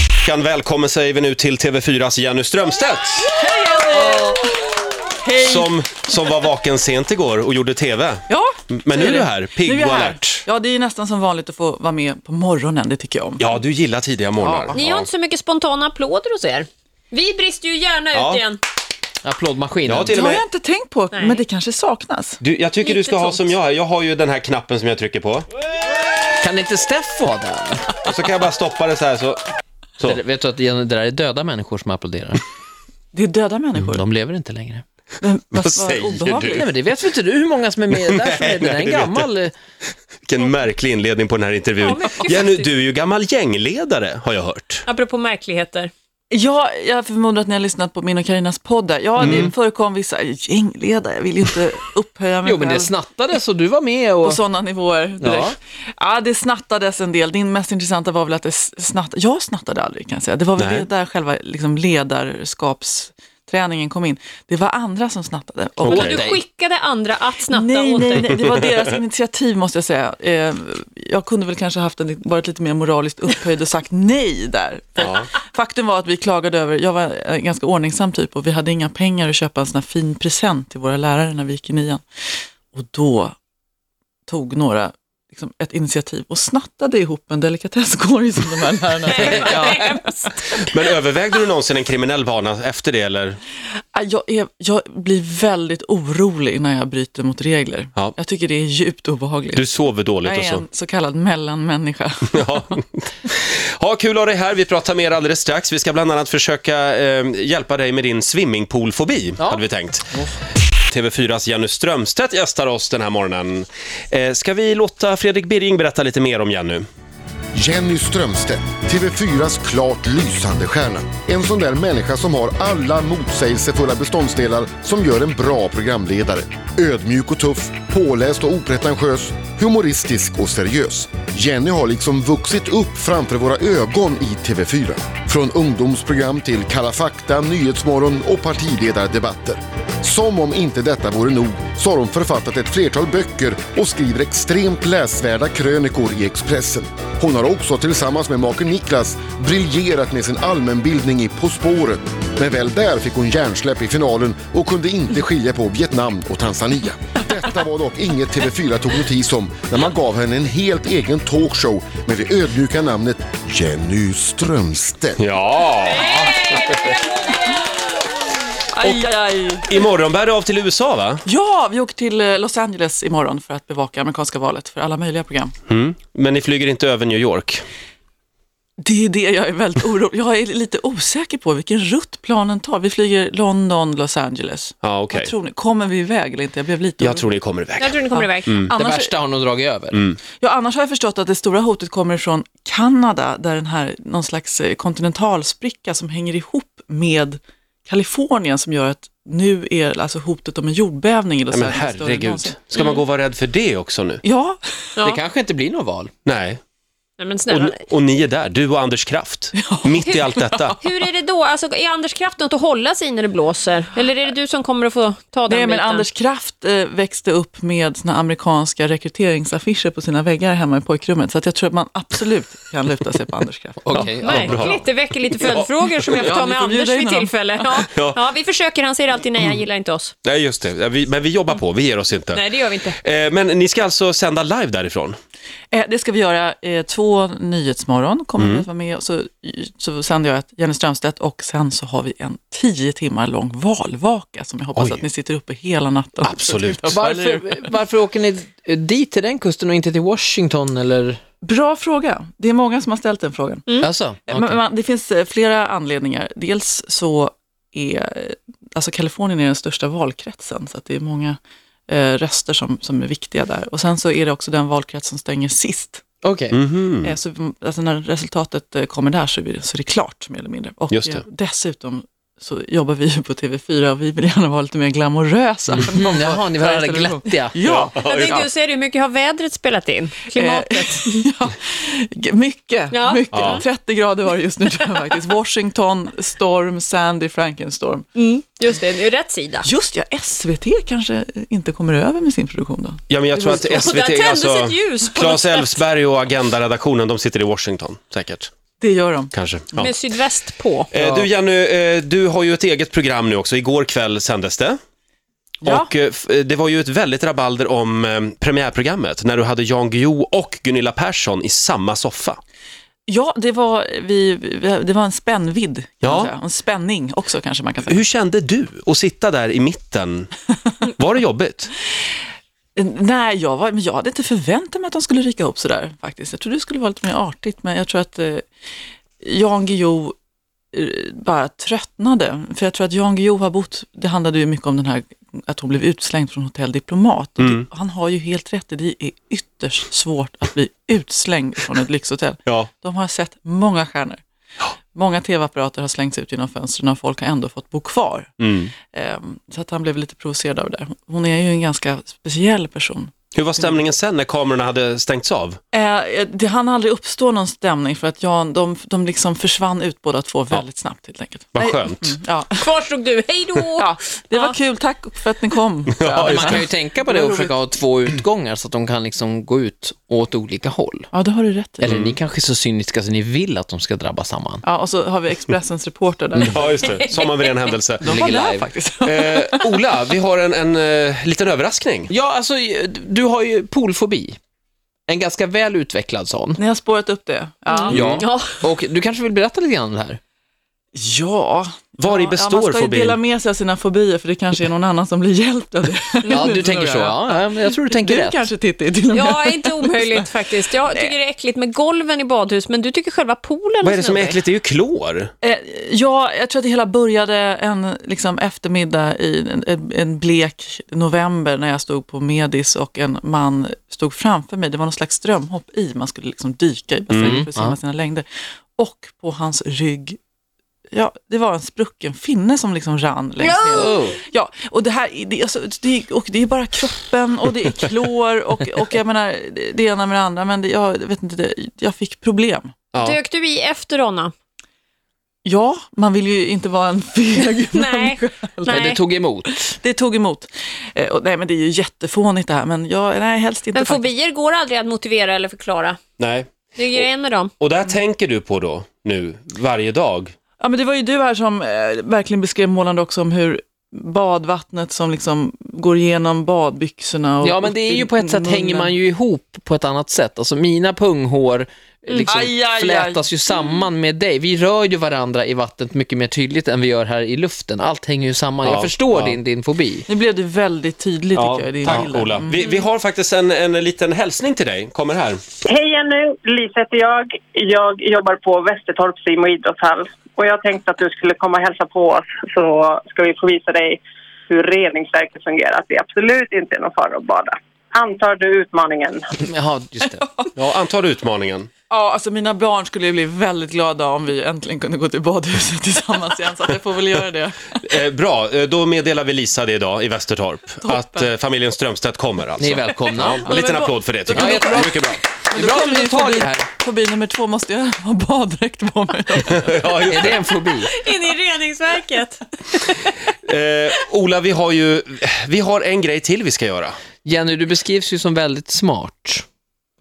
veckan. Välkommen säger vi nu till TV4s Jenny Strömstedt. Hej! Som, som var vaken sent igår och gjorde TV. Ja, Men nu så är du det. här, pigg Nu är jag och här. alert. Ja, det är nästan som vanligt att få vara med på morgonen, det tycker jag om. Ja, du gillar tidiga morgnar. Ni har inte så mycket spontana applåder hos er. Vi brister ju gärna Ja. ut igen. Jag Applådmaskinen. har till Det och har med... jag inte tänkt på, Nej. men det kanske saknas. Du, jag tycker du Lite ska ha sånt. som jag här. Jag har ju den här knappen som jag trycker på. Kan inte Steff få den? Och så kan jag bara stoppa det så här så... Så. Det- Vet du att det där är döda människor som applåderar. Det är döda människor. De lever inte längre. Men, vad, Mm. säger obehagligt. du? Nej, men det vet väl inte du hur många som är med där som Nej, är det. Det är nej, en det vet gammal... eh, Vilken märklig inledning på den här intervjun. Ja, mycket Jenny, faktiskt. du är ju gammal gängledare, har jag hört. Apropå märkligheter. Ja, jag förmodar att ni har lyssnat på min och Karinas podd där. Ja, det Mm. förekom vissa gängledare. Jag vill ju inte upphöja mig Jo, men det själv snattades och du var med på och... sådana nivåer direkt. Ja. det snattades en del. Din mest intressanta var väl att det snatt... jag snattade aldrig kan jag säga. Det var väl Nej. det där själva liksom, ledarskapsträningen kom in. Det var andra som snattade. Och- Men Okej. att du Nej. skickade andra att snatta nej, åt nej, dig. nej, det var deras initiativ måste jag säga. Eh, jag kunde väl kanske haft en, varit lite mer moraliskt upphöjd och sagt nej där. För Ja. Faktum var att vi klagade över, jag var en ganska ordningsam typ och vi hade inga pengar att köpa en sån här fin present till våra lärare när vi gick i nian. Och då tog några liksom, ett initiativ och snattade ihop en delikatesskorg som de här lärarna Men övervägde du någonsin en kriminell bana efter det, eller? Ah, Jag, är, jag blir väldigt orolig när jag bryter mot regler. Ja. Jag tycker det är djupt obehagligt. Du sover dåligt jag och är så. en så kallad mellanmänniska. Ja. Ha kul att ha dig här. Vi pratar mer alldeles strax. Vi ska bland annat försöka eh, hjälpa dig med din swimmingpoolfobi, Ja. hade vi tänkt. TV4s Jenny Strömstedt gästar oss den här morgonen. Eh, ska vi låta Fredrik Birging berätta lite mer om Jenny? Jenny Strömstedt, TV4s klart lysande stjärna. En sån där människa som har alla motsägelsefulla beståndsdelar som gör en bra programledare. Ödmjuk och tuff, påläst och opretentiös, humoristisk och seriös. Jenny har liksom vuxit upp framför våra ögon i TV4. Från ungdomsprogram till Kalla fakta, Nyhetsmorgon och partiledardebatter. Som om inte detta vore nog så har hon författat ett flertal böcker och skriver extremt läsvärda krönikor i Expressen. Hon har också tillsammans med maken Niklas briljerat med sin allmänbildning i På spåret. Men väl där fick hon hjärnsläpp i finalen och kunde inte skilja på Vietnam och Tanzania. Detta var dock inget TV4 tog notis om när man gav henne en helt egen talkshow med det ödmjuka namnet Jenny Strömstedt. Ja! Aj, aj, aj. Imorgon bär du av till USA, va? Ja, vi åker till eh, Los Angeles imorgon för att bevaka amerikanska valet för alla möjliga program. Men ni flyger inte över New York? Det är det jag är väldigt orolig Jag är lite osäker på vilken rutt planen tar. Vi flyger London, Los Angeles. Ja, okej. Vad tror ni? Kommer vi iväg eller inte? Jag blev lite Jag orolig. tror ni kommer iväg. Jag tror ni kommer iväg. Det Annars, värsta har nog dragit över. Mm. ja, annars har jag förstått att det stora hotet kommer från Kanada, där den här, någon slags eh, kontinentalspricka som hänger ihop med Kalifornien som gör att nu är alltså hotet om en jordbävning i Los Nej, men Angeles större än herregud, någonsin. ska man gå och vara rädd för det också nu? Ja, Det kanske inte blir något val. Nej. Nej, men Och, snälla. och ni är där, du och Anders Kraft, mitt i allt detta. Hur är det då? Alltså, är Anders Kraft något att hålla sig i när det blåser? Eller är det du som kommer att få ta den Nej, men biten? Anders Kraft eh, växte upp med sina amerikanska rekryteringsaffischer på sina väggar hemma i pojkrummet. Så att jag tror att man absolut kan luta sig på Anders Kraft. Okej, ja. Märkligt, det väcker lite följdfrågor som jag får Ja, ta ni med får Anders bjuda in vid honom. tillfälle. Ja. Ja. Ja, vi försöker, han säger alltid nej, han gillar inte oss. Nej, just det. Vi, men vi jobbar på, vi ger oss inte. Nej, det gör vi inte. Eh, Men ni ska alltså sända live därifrån? Eh, det ska vi göra eh, två Nyhetsmorgon, kommer vi att vara med. och Så, så sänder jag ett Jenny Strömstedt och sen så har vi en tio timmar lång valvaka som jag hoppas Oj. att ni sitter uppe hela natten. Absolut. Varför, varför åker ni dit till den kusten och inte till Washington eller? Bra fråga. Det är många som har ställt den frågan. Alltså, okej. Mm. Men, man, det finns eh, flera anledningar. Dels så är, eh, alltså Kalifornien är den största valkretsen, så att det är många eh, röster som, som är viktiga där. Och sen så är det också den valkrets som stänger sist. Okej. Mhm. Eh, så, alltså när resultatet eh, kommer där så är, det, så är det klart, mer eller mindre. Och Just det. eh, dessutom så jobbar vi ju på TV4 och vi vill gärna vara lite mer glamorösa. Mm, jaha, ni var alla Föreställer du- glättiga. Ja, Jag tänkte ju säga det, hur mycket har vädret spelat in? Klimat? Eh, ja, g- mycket, Ja. mycket. Ja. 30 grader var det just nu tror jag faktiskt. Washington, storm, Sandy, Frankenstorm. Just det, det är rätt sida. Just ja, SVT kanske inte kommer över med sin produktion då. Ja, men jag tror att Och där SVT, tändes alltså, ett ljus på Claes Elfsberg och Agenda-redaktionen, de sitter i Washington, säkert. Det gör de. kanske. Ja. Med sydväst på. Eh, Du Jenny, eh, du har ju ett eget program nu också. Igår kväll sändes det. Ja. Och eh, f- eh, det var ju ett väldigt rabalder om eh, premiärprogrammet när du hade Jan Guillou och Gunilla Persson i samma soffa. Ja, det var, vi, vi- det var en spännvidd, kan Ja. man säga. Och en spänning också kanske man kan säga. Hur kände du att sitta där i mitten? Var det jobbigt? Eh, Nej, jag, var, men jag hade inte förväntat mig att de skulle ryka ihop sådär faktiskt. Jag trodde det skulle vara lite mer artigt, men jag tror att eh, Jan Guillou eh, bara tröttnade. För jag tror att Jan Guillou har bott, det handlade ju mycket om den här att hon blev utslängd från Hotell Diplomat. Och Mm. det, han har ju helt rätt i, det är ytterst svårt att bli utslängd från ett lyxhotell. Ja. De har sett många stjärnor. Många tv-apparater har slängts ut genom fönstren och folk har ändå fått bo kvar. Mm. Ehm, Så att han blev lite provocerad av det. där. Hon är ju en ganska speciell person. Hur var stämningen sen när kamerorna hade stängts av? Eh, det hann aldrig uppstå någon stämning för att Jan, de, de liksom försvann ut båda två väldigt snabbt helt enkelt. Vad Nej, skönt. Mm, ja. Kvar stod du, hej då! ja, det var Ja. kul. Tack för att ni kom. Ja, Man kan ju tänka på det och försöka ha två utgångar så att de kan liksom gå ut åt olika håll. Ja, det har du rätt i. Eller ni kanske är så cyniska så ni vill att de ska drabba samman. Ja, och så har vi Expressens reporter där. Ja, just det. Som av en ren händelse. De Var ligger där live. faktiskt. Eh, Ola, vi har en, en eh, liten överraskning. Ja, alltså du har ju poolfobi. En ganska väl utvecklad sån. Ni har spårat upp det? Ja. Ja. Ja. Och du kanske vill berätta lite grann om det här? Ja. Var i ja, består man ska ju fobin? dela med sig av sina fobier för det kanske är någon annan som blir hjälpt av det. Ja, du tänker så. Ja, ja, men jag tror du tänker Du rätt. kanske Titti till och med. Ja, inte omöjligt faktiskt. Jag tycker det är äckligt med golven i badhus, men du tycker själva poolen Vad är det som är snurrig. äckligt? Det är ju klor. Eh, ja, jag tror att det hela började en liksom, eftermiddag i en, en, en blek november när jag stod på Medis och en man stod framför mig. Det var någon slags strömhopp i, man skulle liksom dyka i bassängen för att simma sina längder. Och på hans rygg, ja, det var en sprucken finne som liksom rann längs med. Oh. Ja, och det här det, är alltså, det, är- och det är bara kroppen och det är klor och, och jag menar det- det ena med det andra, men det, jag vet inte, det, jag fick problem. Ja. Dök du i efter Ronna? Ja, man vill ju inte vara en feg Nej. människa. Men det Nej. tog emot. Det tog emot. Eh, och, nej, men det är ju jättefånigt det här, men jag, nej, helst inte. Men faktiskt. fobier går aldrig att motivera eller förklara. Nej. Det är grejen med dem. Och det här tänker du på då, nu, varje dag? Ja, men det var ju du här som eh, verkligen beskrev målande också om hur badvattnet som liksom går igenom badbyxorna. Och Ja, men det är ju på ett sätt hänger man ju ihop på ett annat sätt. Alltså mina punghår liksom Mm. Aj, aj, aj. flätas ju samman med dig. Vi rör ju varandra i vattnet mycket mer tydligt än vi gör här i luften. Allt hänger ju samman. Ja, Jag förstår ja. din, din fobi. Nu blev det väldigt tydligt tycker jag. i din tack bild. Mm. Ola. Vi, vi har faktiskt en, en liten hälsning till dig, kommer här. Hej Jenny, Lisa heter jag. Jag jobbar på Västertorp sim och idrottshall. Och jag tänkte att du skulle komma och hälsa på oss så ska vi få visa dig hur reningsverket fungerar. Att det absolut inte är någon fara att bada. Antar du utmaningen? Jaha, just det. Ja, antar utmaningen. Ja, alltså mina barn skulle ju bli väldigt glada om vi äntligen kunde gå till badhuset tillsammans igen, så att jag får väl göra det. Eh, bra, eh, då meddelar vi Lisa det idag i Västertorp, att eh, familjen Strömstedt kommer alltså. Ni är välkomna. En liten applåd för det tycker jag. jättebra. Mycket bra. Det är bra att vi tar det här. Fobi nummer två, måste jag ha baddräkt på mig? Ja, just Är det en fobi? In i reningsverket. det. eh, Ola, vi har ju, vi har en grej till vi ska göra. Jenny, du beskrivs ju som väldigt smart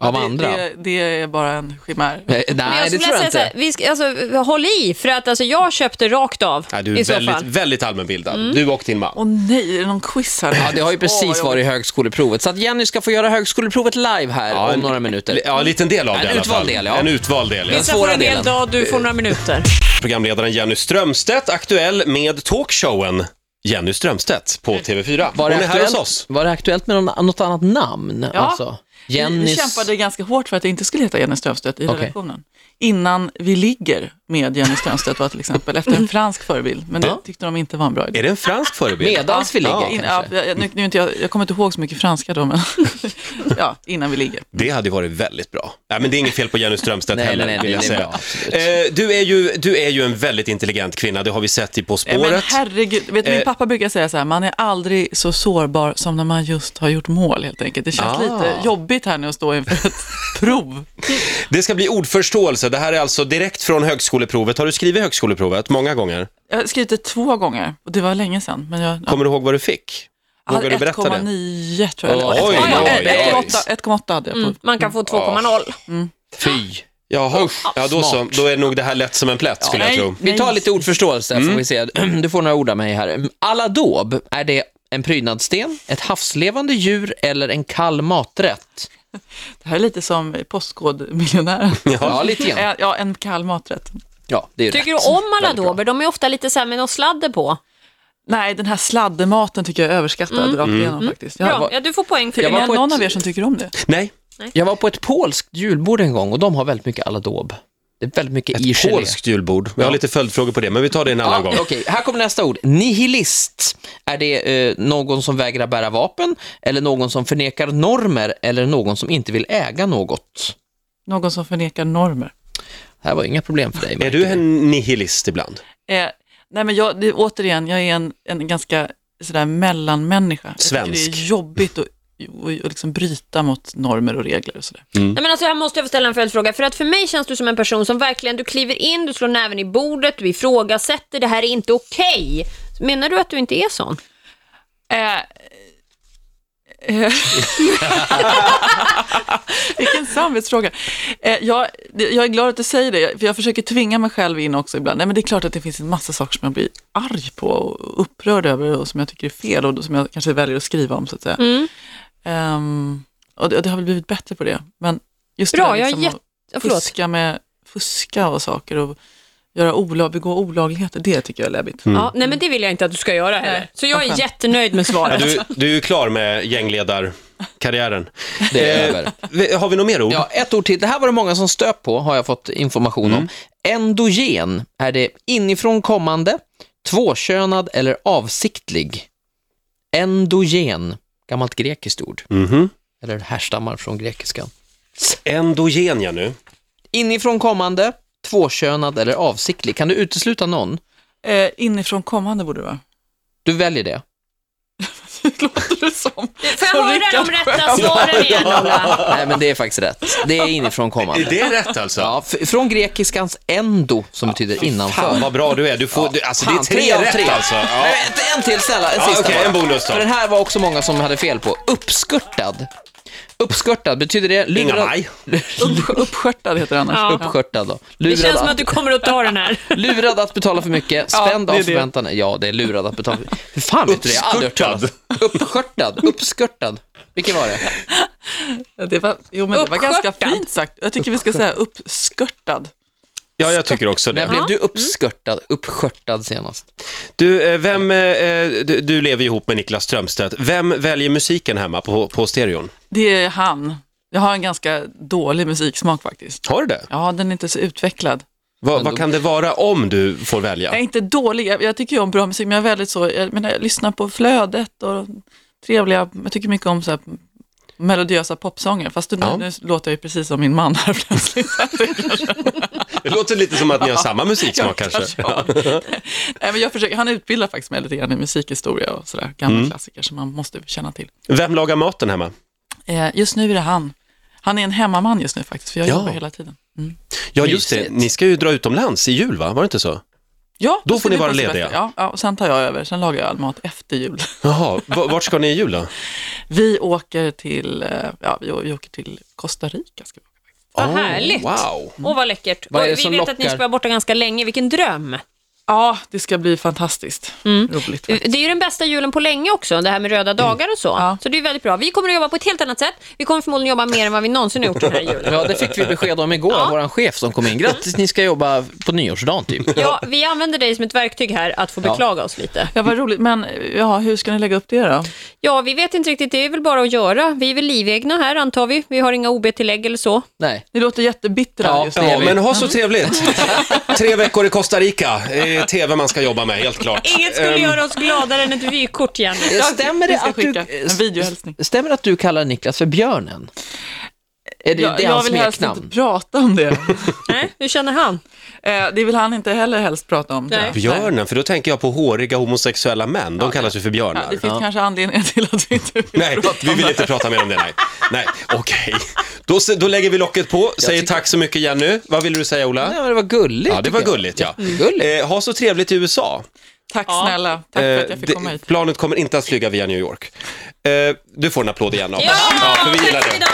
av det, andra. Det, det är bara en chimär. Eh, Men Nej, jag det skulle tror jag säga så inte. här, vi ska, alltså, håll i, för att alltså, jag köpte rakt av Nej, du i är så väldigt, fall. väldigt allmänbildad, Mm. du och din man. Åh nej, är det någon quiz här? Ja, det har ju precis varit högskoleprovet. Så att Jenny ska få göra högskoleprovet live här Ja, om en- några minuter. Ja, en liten del av En det i alla utvald fall. del, ja. En utvald del, ja. Visst. Lisa får svåra en hel delen. dag, du får några minuter. Programledaren Jenny Strömstedt, aktuell med talkshowen Jenny Strömstedt på TV4. Mm. Var Hon det, är här hos aktuellt, oss. var det aktuellt med någon, något annat namn? Ja. Alltså, Jennys... Vi Jennys... kämpade ganska hårt för att det inte skulle heta Jenny Strömstedt i Okej. redaktionen. Innan Vi ligger med Jenny Strömstedt var till exempel, efter en fransk förebild. Men det tyckte de inte var en bra idé. Är det en fransk förebild? Medans vi ligger Ja, in, kanske. ja, jag, nu, nu, är inte jag, jag kommer inte ihåg så mycket franska då, men ja, innan vi ligger. Det hade ju varit väldigt bra. Nej, men det är inget fel på Jenny Strömstedt Nej, heller, nej, nej, vill jag det är säga. bra, absolut. eh, du, är ju, du är ju en väldigt intelligent kvinna, det har vi sett i På Nej, Men spåret. herregud, vet, du, min Eh. pappa brukar säga så här, man är aldrig så sårbar som när man just har gjort mål helt enkelt. Det känns Ah. lite jobbigt här nu att stå inför ett prov. Det ska bli ordförståelse. Det här är alltså direkt från högskoleprovet. Har du skrivit högskoleprovet många gånger? Jag har skrivit det två gånger och det var länge sedan. Men jag, Kommer du ihåg vad du fick? Jag hade Vågar du berätta det? 1,9 tror jag. Oj, Eller- oj, Ja, oj. Mm. Mm. 1,8 1,8 hade jag på. Man kan få 2,0. Fy. Jaha, Usch, ja, då, så, smart. då är nog det här lätt som en plätt skulle jag Mm. nej. tro. Vi tar lite ordförståelse, får vi se. Du får några ord av mig här. Aladob, är det en prydnadssten, ett havslevande djur eller en kall maträtt? Det här är lite som Postkodmiljonären. Ja, lite grann. Eh, Ja, en kall maträtt. Ja, det är ju Tycker rätt. du om alla Väldigt bra. dober? De är ofta lite så här med någon sladder på. Nej, den här sladdematen tycker jag är överskattad rakt igenom Mm. faktiskt. Jag Mm. Bra, var, ja, du får poäng för Jag det. är var det på någon ett- av er som tycker om det? Nej, Jag var på ett polskt julbord en gång och de har väldigt mycket aladob. Det är väldigt mycket i gelé. polskt julbord. Jag har lite följdfrågor på det, men vi tar det en annan Ja, gång. Okej, här kommer nästa ord. Nihilist. Är det eh, någon som vägrar bära vapen, eller någon som förnekar normer, eller någon som inte vill äga något? Någon som förnekar normer? här var inga problem för dig. Är märker du vi. en nihilist ibland? Eh, nej, men jag, det, återigen, jag är en, en ganska sådär mellanmänniska. Jag tycker Svensk. Det är jobbigt att och, och liksom bryta mot normer och regler och sådär. Nej, men alltså, här måste jag få ställa en följdfråga. För att för mig känns du som en person som verkligen, du kliver in, du slår näven i bordet, du ifrågasätter, det här är inte okej. Menar du att du inte är sån? Eh, eh, Vilken samvetsfråga. Eh, jag, det- jag är glad att du säger det, för jag försöker tvinga mig själv in också ibland. Nej, men det är klart att det finns en massa saker som jag blir arg på och upprörd över och som jag tycker är fel och som jag kanske väljer att skriva om så att säga. Mm. Ehm, och, det, och det har väl blivit bättre på det. Men just Bra, det där jag är liksom att jätte- Ja, förlåt. fuska med fuska och saker och göra olag, begå olagligheter, det tycker jag är läbbigt. Mm. Ja, nej, men det vill jag inte att du ska göra heller. Så jag vad är skönt. jättenöjd med Ja, svaret. du, du är ju klar med gängledarkarriären. Det är Eh, över. vi- Har vi något mer ord? Ja, ett ord till. Det här var det många som stöp på, har jag fått information Mm. om. Endogen, är det inifrån kommande, tvåkönad eller avsiktlig? Endogen, gammalt grekiskt ord, Mhm. eller härstammar från grekiskan. Endogen, ja nu. Inifrån kommande, tvåkönad eller avsiktlig. Kan du utesluta någon? Eh, inifrån kommande borde det vara. Du väljer det. låter det som. Får jag höra de rätta svaren igen, Ola? Nej, men det är faktiskt rätt. Det är inifrån kommande. Är det rätt alltså? Ja, f- från grekiskans endo, som betyder innanför. Fan vad bra du är. Du får, du, alltså, det är Fan, tre, tre av rätt tre. alltså. Ja. Nej, vänta, en till snälla, en Ja, sista okej, bara. en bonus då. För den här var också många som hade fel på. Uppskörtad. Uppskörtad, betyder det lurad... Inga maj. Upp, uppskörtad heter det annars. Ja. Uppskörtad då. Det Lurad, känns som att... att du kommer att ta den här. lurad att betala för mycket, Ja, spänd det är av det. förväntan. Ja, det är lurad att betala. Hur fan vet du det? Jag har aldrig hört talas. Uppskörtad, uppskörtad. Vilken var det? Ja, Det var, jo, men det var Uppskörtad. ganska fint sagt. Jag tycker vi ska säga uppskörtad. Ja, jag tycker också När det. blev du uppskörtad, uppskörtad senast? Du, eh, vem, eh, eh, du, du lever ju ihop med Niklas Strömstedt. Vem väljer musiken hemma på, på stereon? Det är han. Jag har en ganska dålig musiksmak faktiskt. Har du det? Ja, den är inte så utvecklad. Vad, vad kan det vara om du får välja? Jag är inte dålig, jag, jag tycker ju om bra musik, men jag är väldigt så, jag, menar, jag lyssnar på flödet och trevliga, jag tycker mycket om så här melodiösa popsånger, fast nu, Ja. nu låter jag ju precis som min man här plötsligt. Det låter lite som att ni har samma musiksmak kanske. Nej, men jag försöker, han utbildar faktiskt mig lite grann i musikhistoria och sådär, gamla klassiker som man måste känna till. Vem lagar maten hemma? Eh, just nu är det han. Han är en hemmaman just nu faktiskt, för jag Ja. jobbar hela tiden. Mm. Ja, just det. Mysigt. Ni ska ju dra utomlands i jul, va? Var det inte så? Ja, Då det får ni ska vara bli lediga. semester. Ja, ja, och sen tar jag över. Sen lagar jag all mat efter jul. Jaha, v- vart ska ni i jul då? Vi åker till, eh, ja, vi, å- vi åker till Costa Rica. Ska vi. åka. Vad Oh, härligt. Wow. Åh, vad läckert. Vad är det Och vi som vet att ni lockar? ska vara borta ganska länge. Vilken dröm. Ja, det ska bli fantastiskt roligt. faktiskt. Det är ju den bästa julen på länge också, det här med röda dagar och så. Ja. Så det är väldigt bra. Vi kommer att jobba på ett helt annat sätt. Vi kommer förmodligen jobba mer än vad vi någonsin har gjort den här julen. Ja, det fick vi besked om igår av vår chef som kom in. Grattis, ni ska jobba på nyårsdagen typ. Ja, vi använder dig som ett verktyg här att få beklaga oss lite. Ja, vad roligt. Men eh, ja, hur ska ni lägga upp det då? Ja, vi vet inte riktigt. Det är väl bara att göra. Vi är väl livegna här antar vi. Vi har inga OB-tillägg eller så. Nej. Ni låter jättebittra Ja, just nu. Ja, men ha så trevligt. Tre veckor i Costa Rica. Eh, TV man ska jobba med, helt klart. Inget skulle Ehm, göra oss gladare än ett vykort, Jenny. Stämmer vi det ska att du... skicka en videohälsning. Stämmer det att du kallar Niklas för björnen? Är det, Jag, det är jag hans vill helst smeknamn? inte prata om det. Nej, hur känner han? Eh, det vill han inte heller helst prata om. tror jag. Nej. Björnen, för då tänker jag på håriga homosexuella män. De kallas ju för Ja, björnar. det finns kanske anledningar till att vi inte vill Nej, prata vi om vill det. inte prata mer om det. Nej, nej okej. Då, se- då lägger vi locket på, säger tycker- tack så mycket Jenny. Vad vill du säga Nej, Ola? men det var gulligt. Ja, det var tycker jag. gulligt ja. Jättegulligt. Eh, ha så trevligt i USA. Tack snälla. Tack för Eh, att jag fick det- komma hit. Planet kommer inte att flyga via New York. Eh, du får en applåd igen av oss. Ja, för vi gillar tack det. för idag.